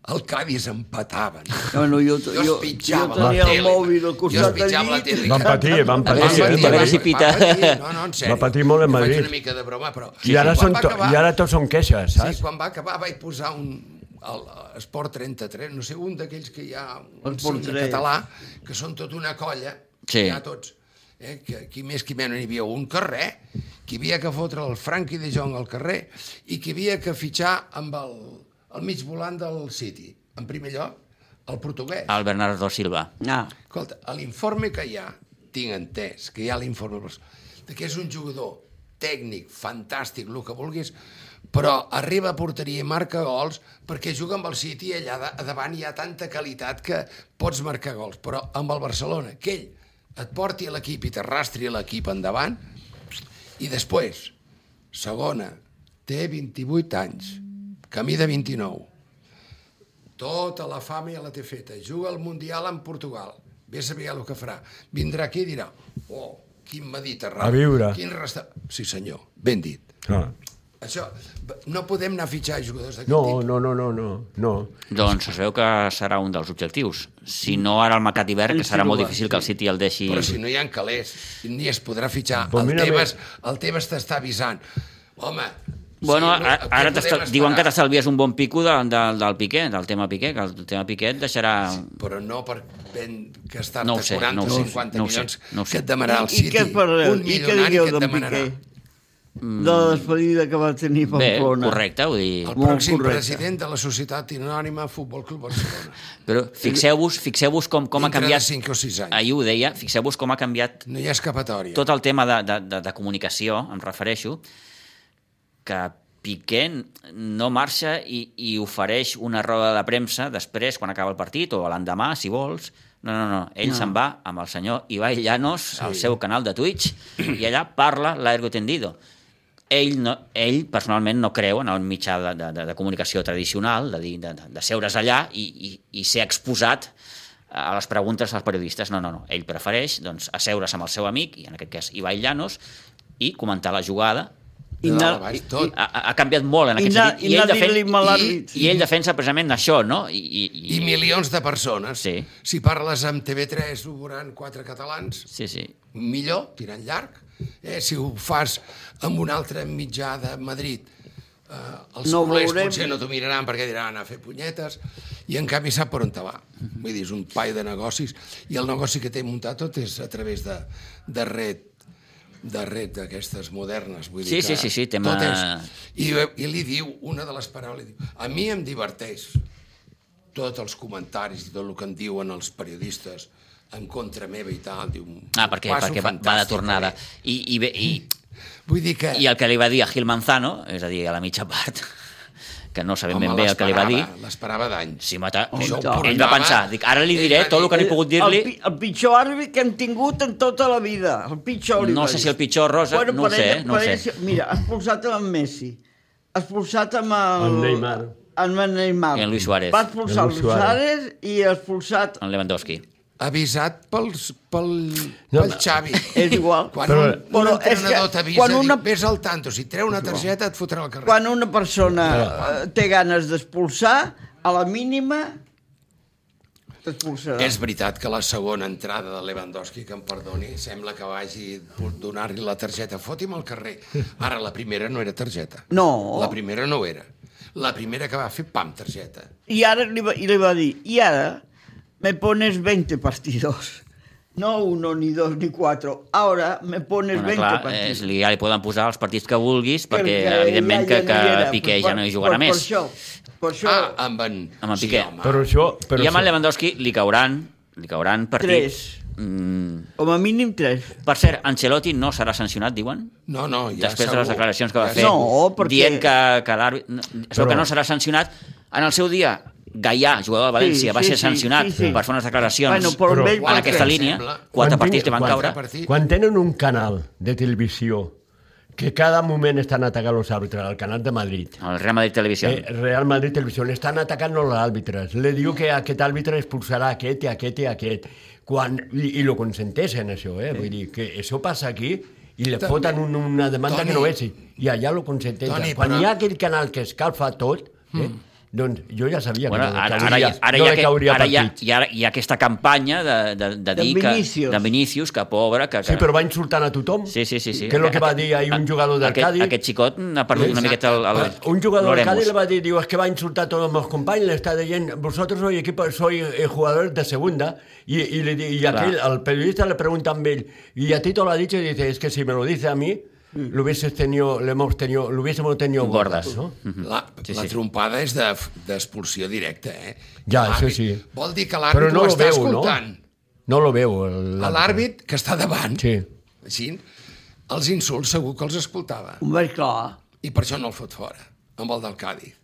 Speaker 2: el Cádiz empataven.
Speaker 3: Bueno, jo, jo,
Speaker 2: Jo,
Speaker 3: jo,
Speaker 2: es pitjava
Speaker 3: jo tenia
Speaker 2: la
Speaker 3: el
Speaker 2: tele.
Speaker 3: mòbil al
Speaker 2: Jo
Speaker 3: costat
Speaker 2: es pitjava la tele.
Speaker 4: Van patir, van patir,
Speaker 1: eh, a veure si pita.
Speaker 2: Va patir, no, no, en sèrio.
Speaker 4: Va patir molt a
Speaker 2: Jo Faig
Speaker 4: Madrid.
Speaker 2: una mica de broma, però...
Speaker 4: I ara,
Speaker 2: quan
Speaker 4: són
Speaker 2: va
Speaker 4: to,
Speaker 2: acabar-
Speaker 4: I ara tots són queixes,
Speaker 2: Sí,
Speaker 4: saps?
Speaker 2: quan va acabar vaig posar un el Esport 33, no sé, un d'aquells que hi ha un
Speaker 3: Esport
Speaker 2: signe
Speaker 3: 3.
Speaker 2: català, que són tot una colla,
Speaker 1: Sí.
Speaker 2: hi ha tots, eh? que qui més qui menys n'hi havia un carrer, qui havia que fotre el Frankie de Jong al carrer i qui havia que fitxar amb el, el mig volant del City, en primer lloc, el portuguès.
Speaker 1: el Bernardo Silva.
Speaker 3: Ah,
Speaker 2: Escolta, a l'informe que hi ha, tinc entès que hi ha l'informe, de que és un jugador tècnic, fantàstic, el que vulguis, però arriba a porteria i marca gols perquè juga amb el City i allà da- davant hi ha tanta qualitat que pots marcar gols. Però amb el Barcelona, que ell et porti a l'equip i t'arrastri a l'equip endavant i després, segona, té 28 anys, camí de 29, tota la fama ja la té feta. Juga al Mundial en Portugal. Ve a saber el que farà. Vindrà aquí i dirà, oh, quin mediterrani.
Speaker 4: A viure.
Speaker 2: Quin resta... Sí, senyor, ben dit.
Speaker 4: Ah.
Speaker 2: Això, no podem anar a fitxar jugadors d'aquest
Speaker 4: No,
Speaker 2: tipus.
Speaker 4: no, no, no, no, no.
Speaker 1: Doncs es veu que serà un dels objectius. Si no ara el mercat d'hivern, que serà molt difícil que el City el deixi...
Speaker 2: Però si no hi ha calés, ni es podrà fitxar.
Speaker 4: Però
Speaker 2: el,
Speaker 4: mira bé.
Speaker 2: Tebas, el Tebas t'està avisant. Home,
Speaker 1: Bueno,
Speaker 2: sí, no,
Speaker 1: ara, ara
Speaker 2: què podem
Speaker 1: t'està-
Speaker 2: esperar?
Speaker 1: diuen que t'estalvies un bon pico de, de, del Piqué, del tema Piqué, que el tema Piqué et deixarà...
Speaker 2: però no per ben gastar-te
Speaker 1: No ho sé,
Speaker 2: 40
Speaker 1: no ho
Speaker 2: o
Speaker 1: sé,
Speaker 2: 50
Speaker 1: no ho sé,
Speaker 2: milions
Speaker 1: no ho sé.
Speaker 2: que et demanarà el
Speaker 3: I-
Speaker 2: City.
Speaker 3: I què parleu?
Speaker 2: Un
Speaker 3: I què
Speaker 2: milionari
Speaker 3: digueu
Speaker 2: que et
Speaker 3: d'en
Speaker 2: demanarà.
Speaker 3: Piqué? De la despedida que va tenir a
Speaker 1: Bé,
Speaker 3: Pamplona.
Speaker 1: correcte, vull dir...
Speaker 2: El
Speaker 3: Molt
Speaker 2: pròxim
Speaker 3: correcte.
Speaker 2: president de la Societat Anònima Futbol Club *laughs* Barcelona.
Speaker 1: Però fixeu-vos fixeu com, com ha
Speaker 2: Dintre de
Speaker 1: canviat...
Speaker 2: cinc o sis anys.
Speaker 1: Ahir ho deia, fixeu-vos com ha canviat
Speaker 2: No hi ha escapatòria.
Speaker 1: tot el tema de, de, de, de comunicació, em refereixo, que Piqué no marxa i, i ofereix una roda de premsa després, quan acaba el partit, o l'endemà, si vols. No, no, no. Ell no. se'n va amb el senyor Ibai Llanos sí. al seu canal de Twitch i allà parla l'ergo tendido. Ell, no, ell personalment no creu en el mitjà de, de, de- de comunicació tradicional, de, dir, de, de- de seure's allà i, i, i ser exposat a les preguntes als periodistes. No, no, no. Ell prefereix doncs, asseure's amb el seu amic, i en aquest cas Ibai Llanos, i comentar la jugada.
Speaker 2: De
Speaker 3: I
Speaker 2: dalt
Speaker 3: anar-
Speaker 2: a baix,
Speaker 1: I,
Speaker 2: tot.
Speaker 1: ha, ha canviat molt en
Speaker 3: I
Speaker 1: aquest
Speaker 3: anar-
Speaker 1: sentit.
Speaker 3: i anar
Speaker 1: ell defen-
Speaker 3: dient-li mal
Speaker 1: i,
Speaker 3: àrbit.
Speaker 1: i ell defensa precisament això, no? I, i,
Speaker 2: I milions de persones.
Speaker 1: Sí.
Speaker 2: Si parles amb TV3, ho veuran quatre catalans,
Speaker 1: Sí, sí.
Speaker 2: millor, tirant llarg. Eh, si ho fas amb un altre mitjà de Madrid, eh, els
Speaker 3: No
Speaker 2: no
Speaker 3: ho
Speaker 2: culers
Speaker 3: veurem.
Speaker 2: potser no t'ho miraran perquè diran a fer punyetes, i en canvi sap per on te va. Vull dir, és un paio de negocis, i el negoci que té muntat tot és a través de, de red de red d'aquestes modernes. Vull
Speaker 1: Sí,
Speaker 2: dir
Speaker 1: sí,
Speaker 2: que
Speaker 1: sí, sí, tema-
Speaker 2: Tot és, i, I li diu una de les paraules, li diu, a mi em diverteix tots els comentaris i tot el que en diuen els periodistes en contra meva i tal. Diu,
Speaker 1: Ah, perquè,
Speaker 2: "Ho passo
Speaker 1: perquè va, va de
Speaker 2: fantàstic,
Speaker 1: tornada.
Speaker 2: eh?"
Speaker 1: I, i, bé, i,
Speaker 2: Vull dir que...
Speaker 1: I el que li va dir a Gil Manzano, és a dir, a la mitja part, *laughs* que no sabem
Speaker 2: home,
Speaker 1: ben bé el que li va dir,
Speaker 2: l'esperava, L'esperava d'anys.
Speaker 1: si mata, ell,
Speaker 2: Això ho
Speaker 1: ell va
Speaker 2: portava-
Speaker 1: pensar, dic, ara li
Speaker 2: Ell
Speaker 1: diré
Speaker 2: va
Speaker 1: tot el que no he
Speaker 2: dir-
Speaker 1: pogut
Speaker 3: Eh, El,
Speaker 1: dir-li,
Speaker 3: pi- el pitjor àrbit que hem tingut en tota la vida. El pitjor li
Speaker 1: No
Speaker 3: va
Speaker 1: sé
Speaker 3: dir.
Speaker 1: si el pitjor, Rosa, no ho
Speaker 3: per
Speaker 1: sé,
Speaker 3: ella-
Speaker 1: no ho
Speaker 3: per ella
Speaker 1: sé.
Speaker 3: sí- Mira, has expulsat amb Messi, has expulsat amb el...
Speaker 4: Amb Neymar.
Speaker 3: Amb el Neymar.
Speaker 1: I en Luis Suárez.
Speaker 3: Va expulsar
Speaker 4: En
Speaker 3: el
Speaker 4: Luis
Speaker 3: Suárez i ha expulsat...
Speaker 1: en Lewandowski.
Speaker 2: Avisat pels, pel,
Speaker 4: No,
Speaker 2: pel
Speaker 4: no.
Speaker 2: Xavi.
Speaker 3: És igual.
Speaker 2: Quan
Speaker 4: Però-
Speaker 2: un, un
Speaker 3: Però és que
Speaker 2: entrenador t'avisa,
Speaker 3: quan
Speaker 2: quan una...
Speaker 3: una-
Speaker 2: diu, vés al tanto, si et treu una targeta et fotrà al carrer.
Speaker 3: Quan una persona eh, té ganes d'expulsar, a la mínima
Speaker 1: Ah.
Speaker 3: t'expulsarà.
Speaker 2: És veritat que la segona entrada de Lewandowski, que em perdoni, sembla que vagi a donar-li la targeta. Foti'm al carrer. Ara, la primera no era targeta.
Speaker 3: No.
Speaker 2: La primera no ho era. La primera que va fer, pam, targeta.
Speaker 3: I ara li va, i li va dir, i ara me pones 20 partidos. No uno, ni dos, ni cuatro. Ahora me pones
Speaker 1: Bueno,
Speaker 3: 20
Speaker 1: clar,
Speaker 3: partidos.
Speaker 1: és, li, ja li poden posar els partits que vulguis, perquè,
Speaker 3: Perquè ja-
Speaker 1: evidentment, que,
Speaker 3: ja
Speaker 1: que
Speaker 3: no hi era.
Speaker 1: Piqué ja no hi
Speaker 3: Per-
Speaker 1: jugarà
Speaker 3: per,
Speaker 1: més.
Speaker 3: Per això, per això
Speaker 2: Ah, amb en...
Speaker 1: Amb en Piqué.
Speaker 2: home.
Speaker 4: Però això... Però
Speaker 1: I amb el
Speaker 4: això...
Speaker 1: Lewandowski li cauran, li cauran partits.
Speaker 3: Tres.
Speaker 1: Mm.
Speaker 3: com a mínim tres.
Speaker 1: Per cert, Ancelotti no serà sancionat, diuen?
Speaker 2: No, no, ja
Speaker 1: Després
Speaker 2: segur.
Speaker 1: de les declaracions que va
Speaker 2: Ja
Speaker 1: fer,
Speaker 2: segur.
Speaker 3: No, perquè-
Speaker 1: dient que, que l'àrbitre... no, Es veu
Speaker 4: Però-
Speaker 1: que no serà sancionat. En el seu dia, Gaià, jugador de València,
Speaker 3: Sí,
Speaker 1: va
Speaker 3: sí,
Speaker 1: ser
Speaker 3: sí,
Speaker 1: sancionat
Speaker 3: sí, sí.
Speaker 1: per fer unes declaracions
Speaker 3: Bueno, però,
Speaker 4: Però-
Speaker 3: però ell
Speaker 1: en
Speaker 2: Quatre,
Speaker 1: aquesta
Speaker 2: em
Speaker 1: línia.
Speaker 2: sembla.
Speaker 1: Quatre
Speaker 4: Quan
Speaker 1: partits
Speaker 4: tingui-
Speaker 1: li van
Speaker 4: quan-
Speaker 1: caure.
Speaker 2: partit.
Speaker 4: Quan tenen un canal de televisió que cada moment estan atacant els àrbitres, el canal de Madrid,
Speaker 1: El Real Madrid Televisió.
Speaker 4: Eh, Real Madrid Televisión estan atacant els àrbitres. Le diu que aquest àrbitre expulsarà aquest i aquest i aquest. Quan, I, i lo consenteixen, això, eh? Vull dir, que això passa aquí i le
Speaker 2: També.
Speaker 4: foten un, una demanda
Speaker 2: Toni.
Speaker 4: que no és. I allà lo consenteixen.
Speaker 2: Toni,
Speaker 4: quan
Speaker 2: però-
Speaker 4: hi ha aquell canal que escalfa tot, eh? doncs jo ja sabia
Speaker 1: Hmm. Bueno,
Speaker 4: que no,
Speaker 1: ara,
Speaker 4: li
Speaker 1: ara,
Speaker 4: cauria-
Speaker 1: ara,
Speaker 4: no
Speaker 1: hi ha
Speaker 4: li
Speaker 1: que,
Speaker 4: cauria
Speaker 1: ara hi, ha,
Speaker 4: partit.
Speaker 1: hi, ha, hi ha aquesta campanya de, de, de
Speaker 3: D'en
Speaker 1: dir que...
Speaker 3: Vinícius.
Speaker 1: D'en Vinícius, que pobre... Que, que...
Speaker 4: Sí, però va insultant a tothom.
Speaker 1: Sí, sí, sí, sí.
Speaker 4: Que és el que va
Speaker 1: Aquest-
Speaker 4: dir ahir un jugador del
Speaker 1: aquest,
Speaker 4: Cádiz. Ah,
Speaker 1: Aquest xicot ha perdut una
Speaker 2: Exacte.
Speaker 1: miqueta el, el,
Speaker 4: Un jugador del
Speaker 1: l'oremus.
Speaker 4: Cádiz le va a decir, digo, es que va a insultar a todos mis compañeros, le está diciendo, vosotros sois equipo, soy jugadores de segunda, y, y, le di- y aquel- al periodista le preguntan Bill, y a Tito lo ha dicho, y dice, es que si me lo dice a mí, lo hubieses tenido, le hemos tenido, lo hubiésemos tenido
Speaker 1: Gordas.
Speaker 4: gordas, ¿no?
Speaker 2: La,
Speaker 1: Sí,
Speaker 2: sí, la
Speaker 1: sí.
Speaker 2: trompada és de- d'expulsió de, directa, eh?
Speaker 4: Ja,
Speaker 2: L'àrbit-
Speaker 4: això sí.
Speaker 2: Vol dir que
Speaker 4: Pero
Speaker 2: l'àrbit
Speaker 4: no
Speaker 2: no ho
Speaker 4: lo
Speaker 2: està
Speaker 4: veo, ¿no?
Speaker 2: escoltant.
Speaker 4: No lo veo. el-
Speaker 2: No? L'àrbit que està davant,
Speaker 4: Sí.
Speaker 2: així, els insults segur que els escoltava.
Speaker 3: Home, clar,
Speaker 2: I per això no el fot fora, amb el del Cádiz.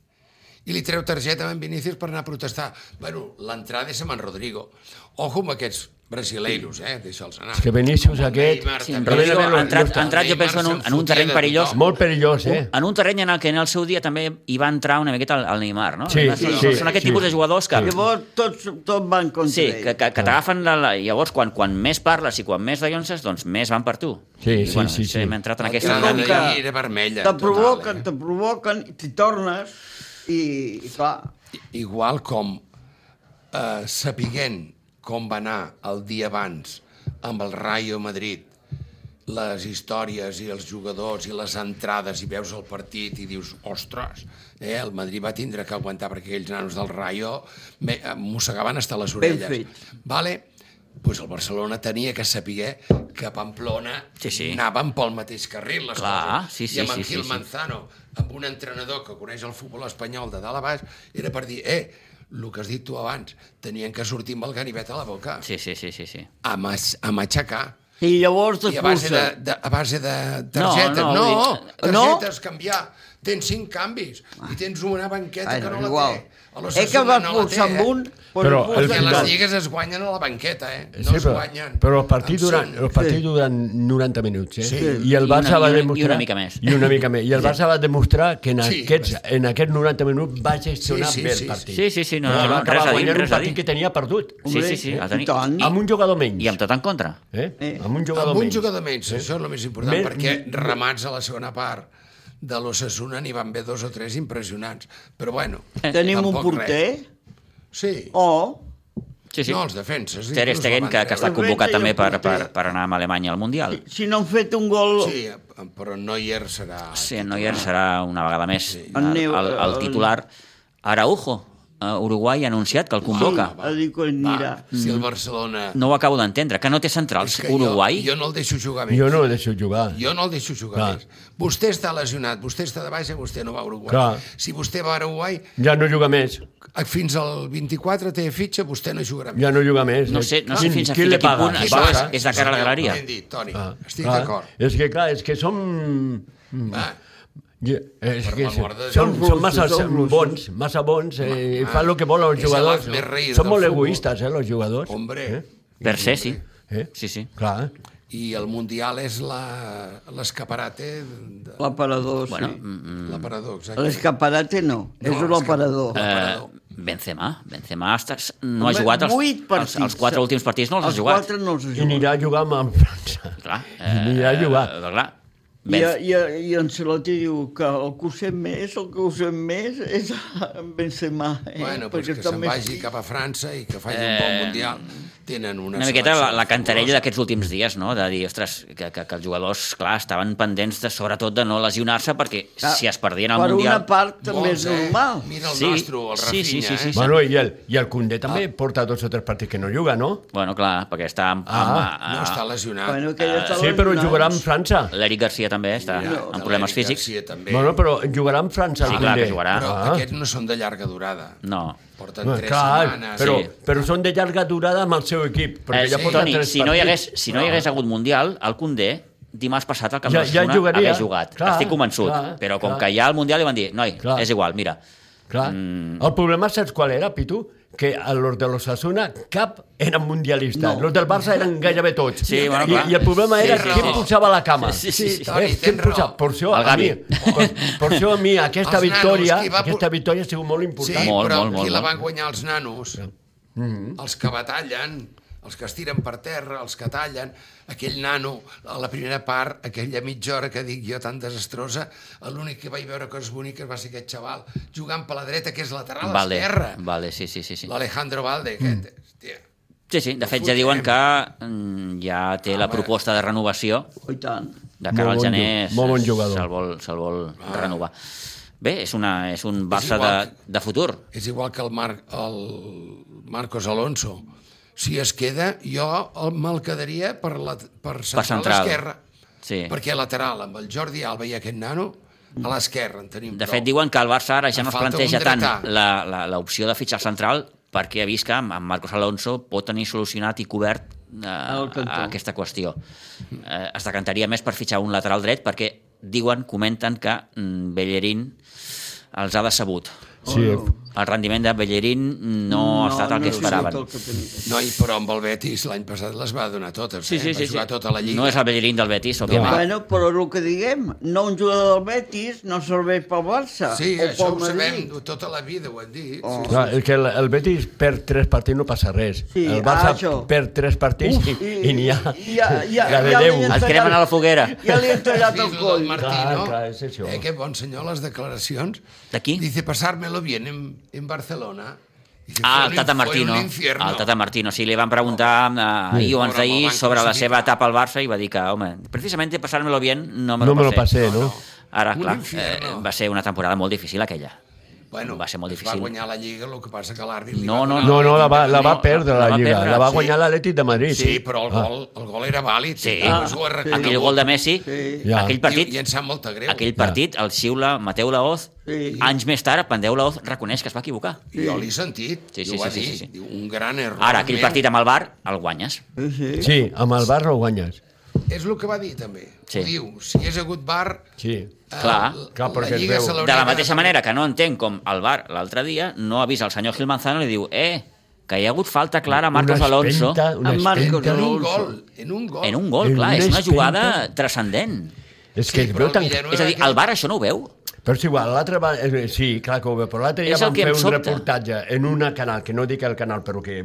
Speaker 2: I li treu targeta a en Vinícius per anar a protestar. Bueno, l'entrada és amb en Rodrigo. Ojo amb aquests brasileiros, eh? Deixa'ls anar.
Speaker 4: És que Vinícius aquest...
Speaker 2: Neymar
Speaker 1: Sí,
Speaker 2: també.
Speaker 1: però
Speaker 4: Rodrigo
Speaker 1: ha entrat,
Speaker 4: està.
Speaker 1: ha entrat, jo
Speaker 2: Neymar
Speaker 1: penso, en un,
Speaker 2: se'n
Speaker 1: en un
Speaker 2: fotia
Speaker 1: terreny
Speaker 2: de
Speaker 1: perillós.
Speaker 2: tothom.
Speaker 4: Molt perillós, eh?
Speaker 1: En un terreny en el que en el seu dia també hi va entrar una miqueta el, el Neymar, no?
Speaker 4: Sí,
Speaker 1: són,
Speaker 4: sí,
Speaker 1: són aquest
Speaker 4: sí. Ah.
Speaker 1: tipus de jugadors que...
Speaker 3: Llavors tot, tot va en contra
Speaker 1: Sí,
Speaker 3: d'ell.
Speaker 1: que, que, que t'agafen la, la... Llavors, quan, quan més parles i quan més dallonses, doncs més van per tu.
Speaker 4: Sí,
Speaker 1: I,
Speaker 4: sí,
Speaker 1: bueno,
Speaker 4: sí, sí.
Speaker 1: Hem entrat en aquesta...
Speaker 2: L'entrada
Speaker 3: com
Speaker 1: dinàmica.
Speaker 3: que-
Speaker 2: d'ahir era vermella.
Speaker 3: Te
Speaker 2: total,
Speaker 3: provoquen,
Speaker 2: eh?
Speaker 3: te provoquen, t'hi tornes i, i clar,
Speaker 2: igual com eh, sapiguent com va anar el dia abans amb el Rayo Madrid, les històries i els jugadors i les entrades i veus el partit i dius, ostres, eh, el Madrid va tindre que aguantar perquè aquells nanos del Rayo me, eh, mossegaven hasta les
Speaker 3: Ben
Speaker 2: orelles.
Speaker 3: fet.
Speaker 2: Vale? pues el Barcelona tenia que saber que Pamplona
Speaker 1: Sí, sí.
Speaker 2: anaven pel mateix carril les
Speaker 1: Clar,
Speaker 2: coses.
Speaker 1: sí, sí,
Speaker 2: I amb
Speaker 1: sí,
Speaker 2: en
Speaker 1: sí,
Speaker 2: Gil
Speaker 1: sí.
Speaker 2: Manzano, amb un entrenador que coneix el futbol espanyol de dalt a baix, era per dir, eh, el que has dit tu abans, tenien que sortir amb el ganivet a la boca,
Speaker 1: Sí, sí, sí, sí, sí.
Speaker 2: a, mas, a matxacar.
Speaker 3: i llavors
Speaker 2: I a base de,
Speaker 3: t'expulsen.
Speaker 2: de, a base de targetes,
Speaker 1: no,
Speaker 2: no, no,
Speaker 1: vull dir-
Speaker 2: targetes, canviar. Tens cinc canvis i tens una banqueta
Speaker 3: Ai,
Speaker 2: que
Speaker 3: no,
Speaker 2: no
Speaker 3: és
Speaker 2: la
Speaker 3: igual.
Speaker 2: té. A la
Speaker 3: Eh que
Speaker 2: Osasuna
Speaker 3: va
Speaker 2: no la té,
Speaker 3: expulsar amb
Speaker 2: eh?
Speaker 3: un,
Speaker 4: Però
Speaker 3: però
Speaker 4: el
Speaker 2: Perquè les
Speaker 4: final-
Speaker 3: expulsa
Speaker 2: lligues es guanyen a la banqueta, eh? No
Speaker 4: Sí,
Speaker 2: es
Speaker 4: però,
Speaker 2: guanyen.
Speaker 4: però el partit
Speaker 2: Em
Speaker 4: durant,
Speaker 2: surt.
Speaker 4: el partit durant 90 minuts, eh?
Speaker 2: Sí.
Speaker 4: I el
Speaker 1: I
Speaker 4: Barça
Speaker 1: una-
Speaker 4: va
Speaker 1: i una- i
Speaker 4: demostrar...
Speaker 1: una mica més.
Speaker 4: I una mica més. I el Barça va demostrar que en,
Speaker 2: Sí.
Speaker 4: aquests, en aquests 90 minuts va gestionar
Speaker 2: Sí, sí,
Speaker 4: bé
Speaker 2: sí,
Speaker 4: el partit.
Speaker 1: Sí, sí, sí, no,
Speaker 4: Però
Speaker 1: no, no,
Speaker 4: va
Speaker 1: res
Speaker 4: acabar
Speaker 1: a dir,
Speaker 4: guanyant
Speaker 1: res
Speaker 4: un
Speaker 1: a
Speaker 4: partit
Speaker 1: dir.
Speaker 4: que tenia perdut.
Speaker 1: Sí, sí, sí, el
Speaker 3: i
Speaker 1: tenir...
Speaker 3: tant.
Speaker 1: I,
Speaker 4: Amb un jugador menys.
Speaker 1: I amb tot en contra.
Speaker 4: Eh?
Speaker 3: Eh.
Speaker 4: Amb un jugador
Speaker 2: Amb un
Speaker 4: menys.
Speaker 2: jugador menys, això és el més important,
Speaker 4: Més-
Speaker 2: perquè ramats a la segona part de l'Ossassuna n'hi van haver dos o tres impressionants. Però bueno,
Speaker 1: Eh,
Speaker 4: Eh,
Speaker 3: Tenim un
Speaker 2: tampoc
Speaker 3: porter
Speaker 2: res. Sí,
Speaker 3: o
Speaker 1: Sí, sí.
Speaker 2: no, els defenses.
Speaker 1: Ter
Speaker 2: inclús
Speaker 1: Stegen,
Speaker 2: la van
Speaker 1: que, que
Speaker 2: treure.
Speaker 1: està convocat
Speaker 3: Defensa i
Speaker 1: també per,
Speaker 3: el
Speaker 1: per,
Speaker 3: porter.
Speaker 1: per anar amb Alemanya al Mundial.
Speaker 3: si no han fet un gol...
Speaker 2: Sí, eh, però Neuer serà...
Speaker 1: Sí, en Neuer serà una vegada més el,
Speaker 3: El
Speaker 1: el,
Speaker 3: neu-
Speaker 1: el
Speaker 3: el-
Speaker 1: titular. Araujo, a Uruguai, ha anunciat que el convoca.
Speaker 3: a dir que
Speaker 2: Va,
Speaker 3: anirà.
Speaker 2: si el Barcelona...
Speaker 1: Mm. No ho acabo d'entendre, que no té
Speaker 2: És
Speaker 1: centrals.
Speaker 2: que
Speaker 1: Uruguai?
Speaker 2: Jo, jo no el deixo jugar més.
Speaker 4: Jo no el deixo jugar.
Speaker 2: Jo no el deixo jugar
Speaker 4: Clar.
Speaker 2: més. Vostè està lesionat, vostè està de baixa, vostè no va a Uruguai.
Speaker 4: Clar.
Speaker 2: Si vostè va a Uruguai,
Speaker 4: Ja no juga més.
Speaker 2: fins al 24 té fitxa, vostè no jugarà més.
Speaker 4: Ja no juga més.
Speaker 1: No sé- no sé
Speaker 4: Quin-
Speaker 1: fins a
Speaker 4: qui
Speaker 1: fins
Speaker 4: li
Speaker 1: a quin
Speaker 4: paga?
Speaker 1: punt
Speaker 4: Qui
Speaker 1: això
Speaker 4: paga?
Speaker 1: és- és de cara a la galeria.
Speaker 2: Ben dit, Toni,
Speaker 4: Ah,
Speaker 2: estic
Speaker 3: eh?
Speaker 4: clar.
Speaker 2: d'acord.
Speaker 4: És que, clar, és que som...
Speaker 2: Va,
Speaker 4: Ja, eh, És
Speaker 2: Per
Speaker 4: que
Speaker 2: l'amor de Déu.
Speaker 4: són, són
Speaker 3: Són
Speaker 4: massa
Speaker 3: russos, són russos.
Speaker 4: bons, massa bons, eh, i fan el que volen els
Speaker 2: és
Speaker 4: jugadors.
Speaker 2: el més rei
Speaker 4: Són
Speaker 2: del futbol.
Speaker 4: molt egoistes, eh, els jugadors.
Speaker 2: hombre.
Speaker 4: Eh?
Speaker 1: Per ser, sí.
Speaker 4: Eh?
Speaker 1: Sí, sí.
Speaker 4: Clar.
Speaker 2: I el Mundial és la- l'escaparate, de-
Speaker 3: L'aparador, sí.
Speaker 1: Bueno, mm,
Speaker 2: l'aparador, exacte.
Speaker 3: L'escaparate no, és
Speaker 2: No,
Speaker 3: un aparador.
Speaker 2: l'escaparate.
Speaker 1: eh,
Speaker 2: Parador.
Speaker 1: Benzema, Benzema està, no ha
Speaker 3: Home,
Speaker 1: jugat els,
Speaker 3: vuit
Speaker 1: els, els quatre
Speaker 3: partits.
Speaker 1: últims partits no els,
Speaker 3: Els
Speaker 1: ha jugat.
Speaker 3: quatre no els ha
Speaker 4: I
Speaker 3: jugat.
Speaker 4: anirà a jugar amb França.
Speaker 1: Clar,
Speaker 4: I anirà a jugar.
Speaker 1: eh, clar,
Speaker 3: I, i, I Ancelotti diu que el que ho sent més, el que ho sent més és en Benzema. Eh?
Speaker 2: Bueno, doncs que
Speaker 3: està
Speaker 2: se'n
Speaker 3: més-
Speaker 2: vagi cap a França i que faci un bon Mundial. Tenen
Speaker 1: Eh,
Speaker 2: una,
Speaker 1: Una miqueta la,
Speaker 2: selecció
Speaker 1: la cantarella d'aquests últims dies, no? De dir, ostres, que, que, que els jugadors, clar, estaven pendents de, sobretot de no lesionar-se perquè
Speaker 3: Clar,
Speaker 1: si es perdien el
Speaker 3: per
Speaker 1: Mundial...
Speaker 3: una part també
Speaker 2: Molts,
Speaker 3: és normal.
Speaker 2: Eh? Mira el
Speaker 1: Sí,
Speaker 2: sí. nostre, el
Speaker 1: sí,
Speaker 2: Rafinha,
Speaker 1: sí, sí, sí,
Speaker 2: eh?
Speaker 1: sí.
Speaker 4: Bueno, i el, i el Condé també
Speaker 1: Ah.
Speaker 4: porta dos o tres partits que no juga, no?
Speaker 1: Bueno, clar, perquè està... Amb,
Speaker 4: Ah,
Speaker 1: amb,
Speaker 2: No està lesionat.
Speaker 3: Bueno, que
Speaker 1: Eh,
Speaker 3: ja
Speaker 4: Sí, però jugarà amb
Speaker 3: amb...
Speaker 4: França.
Speaker 1: L'Eric Garcia també està
Speaker 2: Ja,
Speaker 1: Ah, amb problemes
Speaker 2: l'Eric
Speaker 1: físics.
Speaker 2: Garcia també.
Speaker 4: Bueno, però jugarà amb França el
Speaker 1: Sí, clar,
Speaker 4: Condé.
Speaker 1: que jugarà.
Speaker 2: Però
Speaker 4: Ah.
Speaker 2: aquests no són de llarga durada.
Speaker 1: No.
Speaker 2: Porten tres setmanes.
Speaker 4: però,
Speaker 1: Sí.
Speaker 4: però són de llarga durada amb el seu equip. Perquè
Speaker 1: Eh,
Speaker 4: ja
Speaker 1: sí.
Speaker 4: porten
Speaker 1: Toni,
Speaker 4: tres
Speaker 1: si no, hi hagués,
Speaker 4: partits. Ah.
Speaker 1: si no hi hagués hagut Mundial, el Condé dimarts passat al Camp
Speaker 4: Ja-
Speaker 1: ja,
Speaker 4: ja
Speaker 1: d'Osona
Speaker 4: jugaria.
Speaker 1: hagués jugat.
Speaker 4: Clar,
Speaker 1: Estic convençut.
Speaker 4: clar,
Speaker 1: però com
Speaker 4: clar.
Speaker 1: que hi ha el Mundial, li van dir, noi,
Speaker 4: Clar.
Speaker 1: és igual, mira.
Speaker 4: Clar. El problema saps qual era, Pitu? Que a los de los Asuna cap eren mundialistes.
Speaker 3: No.
Speaker 4: Los del Barça eren gairebé tots.
Speaker 1: Sí, bueno,
Speaker 4: I,
Speaker 1: clar.
Speaker 4: I el problema
Speaker 1: Sí,
Speaker 4: era
Speaker 1: sí,
Speaker 4: qui
Speaker 1: sí.
Speaker 4: posava la cama.
Speaker 1: Sí, sí, sí,
Speaker 2: Toni,
Speaker 4: eh,
Speaker 2: tens
Speaker 4: qui posava?
Speaker 2: raó.
Speaker 4: Per això,
Speaker 1: El
Speaker 4: a mi,
Speaker 1: Gavi.
Speaker 4: per, per això a mi aquesta
Speaker 2: Els nanos,
Speaker 4: victòria,
Speaker 2: qui va pu-
Speaker 4: aquesta victòria ha sigut molt
Speaker 2: Sí,
Speaker 4: important.
Speaker 1: Molt,
Speaker 2: però
Speaker 1: molt, molt,
Speaker 2: qui la
Speaker 1: molt. Mm-hmm.
Speaker 2: van guanyar els nanos, els que batallen, els que es tiren per terra, els que tallen, aquell nano, a la primera part, aquella mitja hora que dic jo tan desastrosa, l'únic que vaig veure coses boniques va ser aquest xaval jugant per la dreta, que és lateral
Speaker 1: Vale,
Speaker 2: esquerra.
Speaker 1: vale, sí, sí, sí. sí. Mm.
Speaker 2: L'Alejandro Valde, aquest. Hòstia.
Speaker 1: Sí, sí, de fet ja
Speaker 2: Fotem.
Speaker 1: diuen que mm, ja té la
Speaker 2: Home.
Speaker 1: proposta de renovació
Speaker 3: Oh, i tant.
Speaker 1: de
Speaker 4: Molt
Speaker 1: cara al
Speaker 4: bon
Speaker 1: gener
Speaker 4: ju- molt bon jugador.
Speaker 1: se'l vol, se'l vol renovar. Bé, és, una, és un Barça de,
Speaker 2: igual.
Speaker 1: de futur.
Speaker 2: És igual que el, Mar el Marcos Alonso. Si es queda, jo el- me'l quedaria per, la, per central,
Speaker 1: central.
Speaker 2: esquerra.
Speaker 1: Sí.
Speaker 2: Perquè lateral, amb el Jordi Alba i aquest nano, a l'esquerra en tenim
Speaker 1: De
Speaker 2: prou.
Speaker 1: fet, diuen que el Barça ara ja
Speaker 2: Em
Speaker 1: no es
Speaker 2: falta
Speaker 1: planteja
Speaker 2: un
Speaker 1: tant
Speaker 2: dretà.
Speaker 1: la- la- l'opció de fitxar el central perquè ha vist que amb amb Marcos Alonso pot tenir solucionat i cobert eh,
Speaker 3: El cantó.
Speaker 1: a aquesta qüestió. Eh, es decantaria més per fitxar un lateral dret perquè diuen, comenten que mm, Bellerín els ha decebut.
Speaker 4: Sí,
Speaker 1: El rendiment de Bellerín no, ha estat el que
Speaker 3: no ha sigut
Speaker 1: esperaven.
Speaker 3: el que tenia.
Speaker 2: Noi, però amb el Betis l'any passat les va donar totes,
Speaker 1: Sí,
Speaker 2: eh?
Speaker 1: sí,
Speaker 2: va
Speaker 1: sí, sí.
Speaker 2: jugar tota la lliga.
Speaker 1: No és el Bellerín del Betis, òbviament.
Speaker 3: Bueno, però el que diguem, no un jugador del Betis no serveix pel Barça.
Speaker 2: Sí,
Speaker 3: o
Speaker 2: això ho
Speaker 3: pel
Speaker 2: sabem,
Speaker 3: Madrid.
Speaker 2: tota la vida ho hem dit.
Speaker 3: Oh.
Speaker 2: Sí,
Speaker 4: Clar, el, que el, el Betis perd tres partits no passa res.
Speaker 3: Sí,
Speaker 4: el
Speaker 3: ah,
Speaker 4: Barça
Speaker 3: això.
Speaker 4: perd tres partits Uf, i, i n'hi ha,
Speaker 3: ja, ja,
Speaker 4: la de
Speaker 3: ja li
Speaker 4: Déu.
Speaker 3: he
Speaker 1: Els
Speaker 3: tallat-
Speaker 1: cremen a la foguera.
Speaker 3: Ja li he
Speaker 2: Has
Speaker 3: tallat el
Speaker 2: vist lo
Speaker 3: coll.
Speaker 2: del Martí,
Speaker 4: Clar,
Speaker 2: no?
Speaker 4: clar, és això.
Speaker 2: Eh, que bon senyor, les declaracions.
Speaker 1: De qui?
Speaker 2: Dice, pasármelo bien en, en Barcelona. Dice,
Speaker 1: Ah,
Speaker 2: "Fue un
Speaker 1: el Tata
Speaker 2: in- fue
Speaker 1: Martino.
Speaker 2: un infierno".
Speaker 1: El Tata Martino, sí, li van preguntar eh, ahir o abans
Speaker 2: Pobre, el
Speaker 1: d'ahir
Speaker 2: van
Speaker 1: sobre la
Speaker 2: crucificar.
Speaker 1: seva etapa al Barça i va dir que, home, precisamente pasármelo bien no me lo,
Speaker 4: No me lo
Speaker 1: pasé.
Speaker 4: passé, no?
Speaker 1: Ara,
Speaker 2: Un
Speaker 1: clar, eh,
Speaker 2: infierno.
Speaker 1: va ser una temporada molt difícil aquella.
Speaker 2: Bueno,
Speaker 1: va ser molt
Speaker 2: es
Speaker 1: difícil.
Speaker 2: Va guanyar la Lliga, el que passa que l'àrbit... li
Speaker 1: No,
Speaker 2: va
Speaker 1: no,
Speaker 2: donar
Speaker 4: No, no, la va, la va
Speaker 1: No,
Speaker 4: perdre
Speaker 1: la
Speaker 4: la,
Speaker 1: va
Speaker 4: Lliga.
Speaker 1: perdre,
Speaker 4: la va
Speaker 1: sí.
Speaker 4: guanyar l'Atlètic de Madrid.
Speaker 2: Sí, però el gol,
Speaker 4: Ah.
Speaker 2: el gol era vàlid.
Speaker 1: Sí,
Speaker 2: Ah, ho ha reconegut.
Speaker 1: aquell gol de Messi,
Speaker 3: Sí.
Speaker 4: Ja.
Speaker 1: aquell
Speaker 2: I,
Speaker 1: partit,
Speaker 2: I em sap molt de greu.
Speaker 1: aquell partit, el xiula Mateu Laoz,
Speaker 3: Sí.
Speaker 1: anys més tard, Pandeu Laoz reconeix que es va equivocar.
Speaker 2: I jo l'he sentit.
Speaker 1: Sí,
Speaker 2: i
Speaker 1: sí,
Speaker 2: ho va
Speaker 1: sí, sí,
Speaker 2: dir.
Speaker 1: sí, sí.
Speaker 2: Diu, Un gran error.
Speaker 1: Ara, aquell
Speaker 2: meu.
Speaker 1: partit amb el Bar, el guanyes.
Speaker 3: Sí, sí.
Speaker 4: sí amb el Barça ho guanyes.
Speaker 2: És el que va dir, també.
Speaker 1: Sí.
Speaker 2: Ho Diu, si hi hagués hagut eh, bar...
Speaker 4: Sí.
Speaker 1: Clar.
Speaker 4: Clar, perquè es veu.
Speaker 1: De la mateixa manera que no entenc com el Bar l'altre dia no avisa el senyor Gil Manzano i li diu eh, que hi ha hagut falta clara a Marcos
Speaker 4: Una
Speaker 1: Alonso
Speaker 4: espenta, una
Speaker 3: En Marcos
Speaker 4: espenta.
Speaker 2: En un
Speaker 3: Alonso.
Speaker 2: gol, en un gol.
Speaker 1: en un gol,
Speaker 4: En
Speaker 1: clar,
Speaker 4: una
Speaker 1: és una
Speaker 4: espenta.
Speaker 1: jugada transcendent.
Speaker 4: És que
Speaker 2: Sí,
Speaker 4: es
Speaker 2: però
Speaker 4: veu
Speaker 2: el
Speaker 4: tan...
Speaker 2: Villanueva-
Speaker 1: És a dir, el Bar això no ho veu?
Speaker 4: Però és igual, l'altre va... eh, Sí, clar que ho veu, però l'altre ja
Speaker 1: És el
Speaker 4: van
Speaker 1: que
Speaker 4: fer
Speaker 1: em
Speaker 4: un
Speaker 1: sobta.
Speaker 4: reportatge en un canal, que no dic el canal, però que...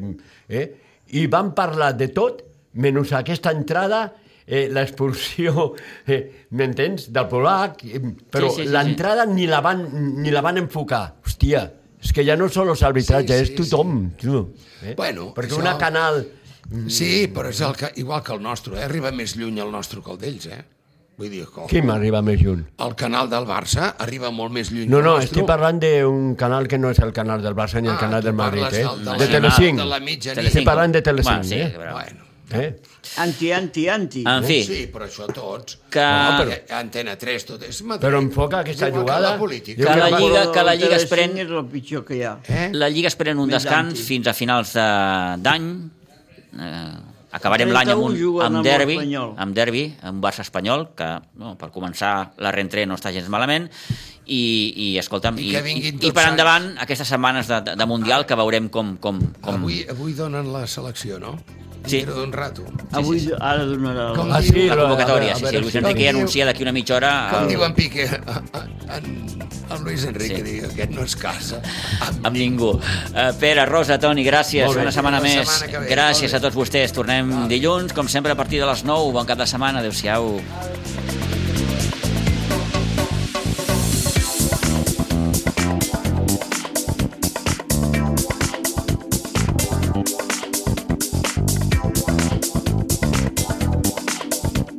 Speaker 4: Eh? I van parlar de tot, menys aquesta entrada, eh, l'expulsió, eh, m'entens, del polac, eh, però
Speaker 1: Sí, sí, sí,
Speaker 4: l'entrada ni, la van, ni la van enfocar. Hòstia, és que ja no són els arbitratges,
Speaker 2: Sí, sí,
Speaker 4: és tothom. Tu, eh?
Speaker 2: Bueno,
Speaker 4: Perquè
Speaker 2: això-
Speaker 4: una canal...
Speaker 2: Sí, però és el que, igual que el nostre, eh? arriba més lluny el nostre que el d'ells, eh? Vull dir, que
Speaker 4: Qui m'arriba més lluny?
Speaker 2: el canal del Barça arriba molt més lluny que
Speaker 4: No,
Speaker 2: el
Speaker 4: no,
Speaker 2: nostre.
Speaker 4: estic parlant d'un canal que no és el canal del Barça ni el
Speaker 2: Ah,
Speaker 4: canal
Speaker 2: tu
Speaker 4: del Madrid,
Speaker 2: parles
Speaker 4: eh?
Speaker 2: del- del
Speaker 4: De
Speaker 1: nacional,
Speaker 4: Telecinc.
Speaker 2: de la mitjanit.
Speaker 1: Telecinco.
Speaker 4: Estic parlant de Telecinc,
Speaker 1: Bueno, sí,
Speaker 4: eh?
Speaker 1: però-
Speaker 2: Bueno,
Speaker 4: Eh?
Speaker 3: Anti, anti, anti.
Speaker 1: En fi,
Speaker 2: sí, però això tots.
Speaker 1: que,
Speaker 2: Però... Antena 3, tot és Madrid.
Speaker 4: Però enfoca aquesta
Speaker 2: Igual que
Speaker 4: jugada.
Speaker 2: la política.
Speaker 4: Jo
Speaker 1: Que
Speaker 4: crec
Speaker 1: la
Speaker 4: que-
Speaker 1: lliga- que la lliga es
Speaker 3: es
Speaker 1: pren-
Speaker 3: És el pitjor que hi ha.
Speaker 2: Eh?
Speaker 1: la Lliga es pren un
Speaker 3: Més
Speaker 1: descans
Speaker 3: anti.
Speaker 1: fins a finals de- d'any. Eh, acabarem
Speaker 3: El
Speaker 1: l'any amb
Speaker 3: 31
Speaker 1: un
Speaker 3: juguen
Speaker 1: amb
Speaker 3: amb
Speaker 1: derbi,
Speaker 3: l'Espanyol.
Speaker 1: amb derbi, amb Barça espanyol, que no, per començar la rentré no està gens malament, i, i escolta'm,
Speaker 2: I
Speaker 1: i,
Speaker 2: que vinguin
Speaker 1: i,
Speaker 2: tots
Speaker 1: per
Speaker 2: sants.
Speaker 1: endavant aquestes setmanes de, de, de Mundial que veurem com... com, com...
Speaker 2: Avui, avui donen la selecció, no?
Speaker 1: Mm. Sí.
Speaker 2: Dintre d'un rato.
Speaker 3: Avui, ara donarà... el-
Speaker 2: Com
Speaker 4: Ah,
Speaker 2: diu,
Speaker 4: sí,
Speaker 1: la
Speaker 4: la-
Speaker 1: convocatòria,
Speaker 4: a
Speaker 1: sí, sí,
Speaker 4: veure
Speaker 1: Luis
Speaker 4: si-
Speaker 1: Enrique
Speaker 2: diu-
Speaker 1: anuncia d'aquí una mitja hora...
Speaker 2: com
Speaker 1: el-
Speaker 2: diu en Piqué, en, en Luis
Speaker 1: Sí.
Speaker 2: Enrique, sí. diu, aquest no es
Speaker 1: *laughs*
Speaker 2: casa.
Speaker 1: amb ningú. Uh, Pere, Rosa, Toni, gràcies.
Speaker 4: Molt bé.
Speaker 1: Una setmana
Speaker 2: Fins la
Speaker 1: més.
Speaker 2: setmana que ve.
Speaker 1: gràcies
Speaker 2: Molt
Speaker 1: a tots vostès. Tornem dilluns, com sempre, a partir de les 9. Bon cap de setmana. Adéu-siau.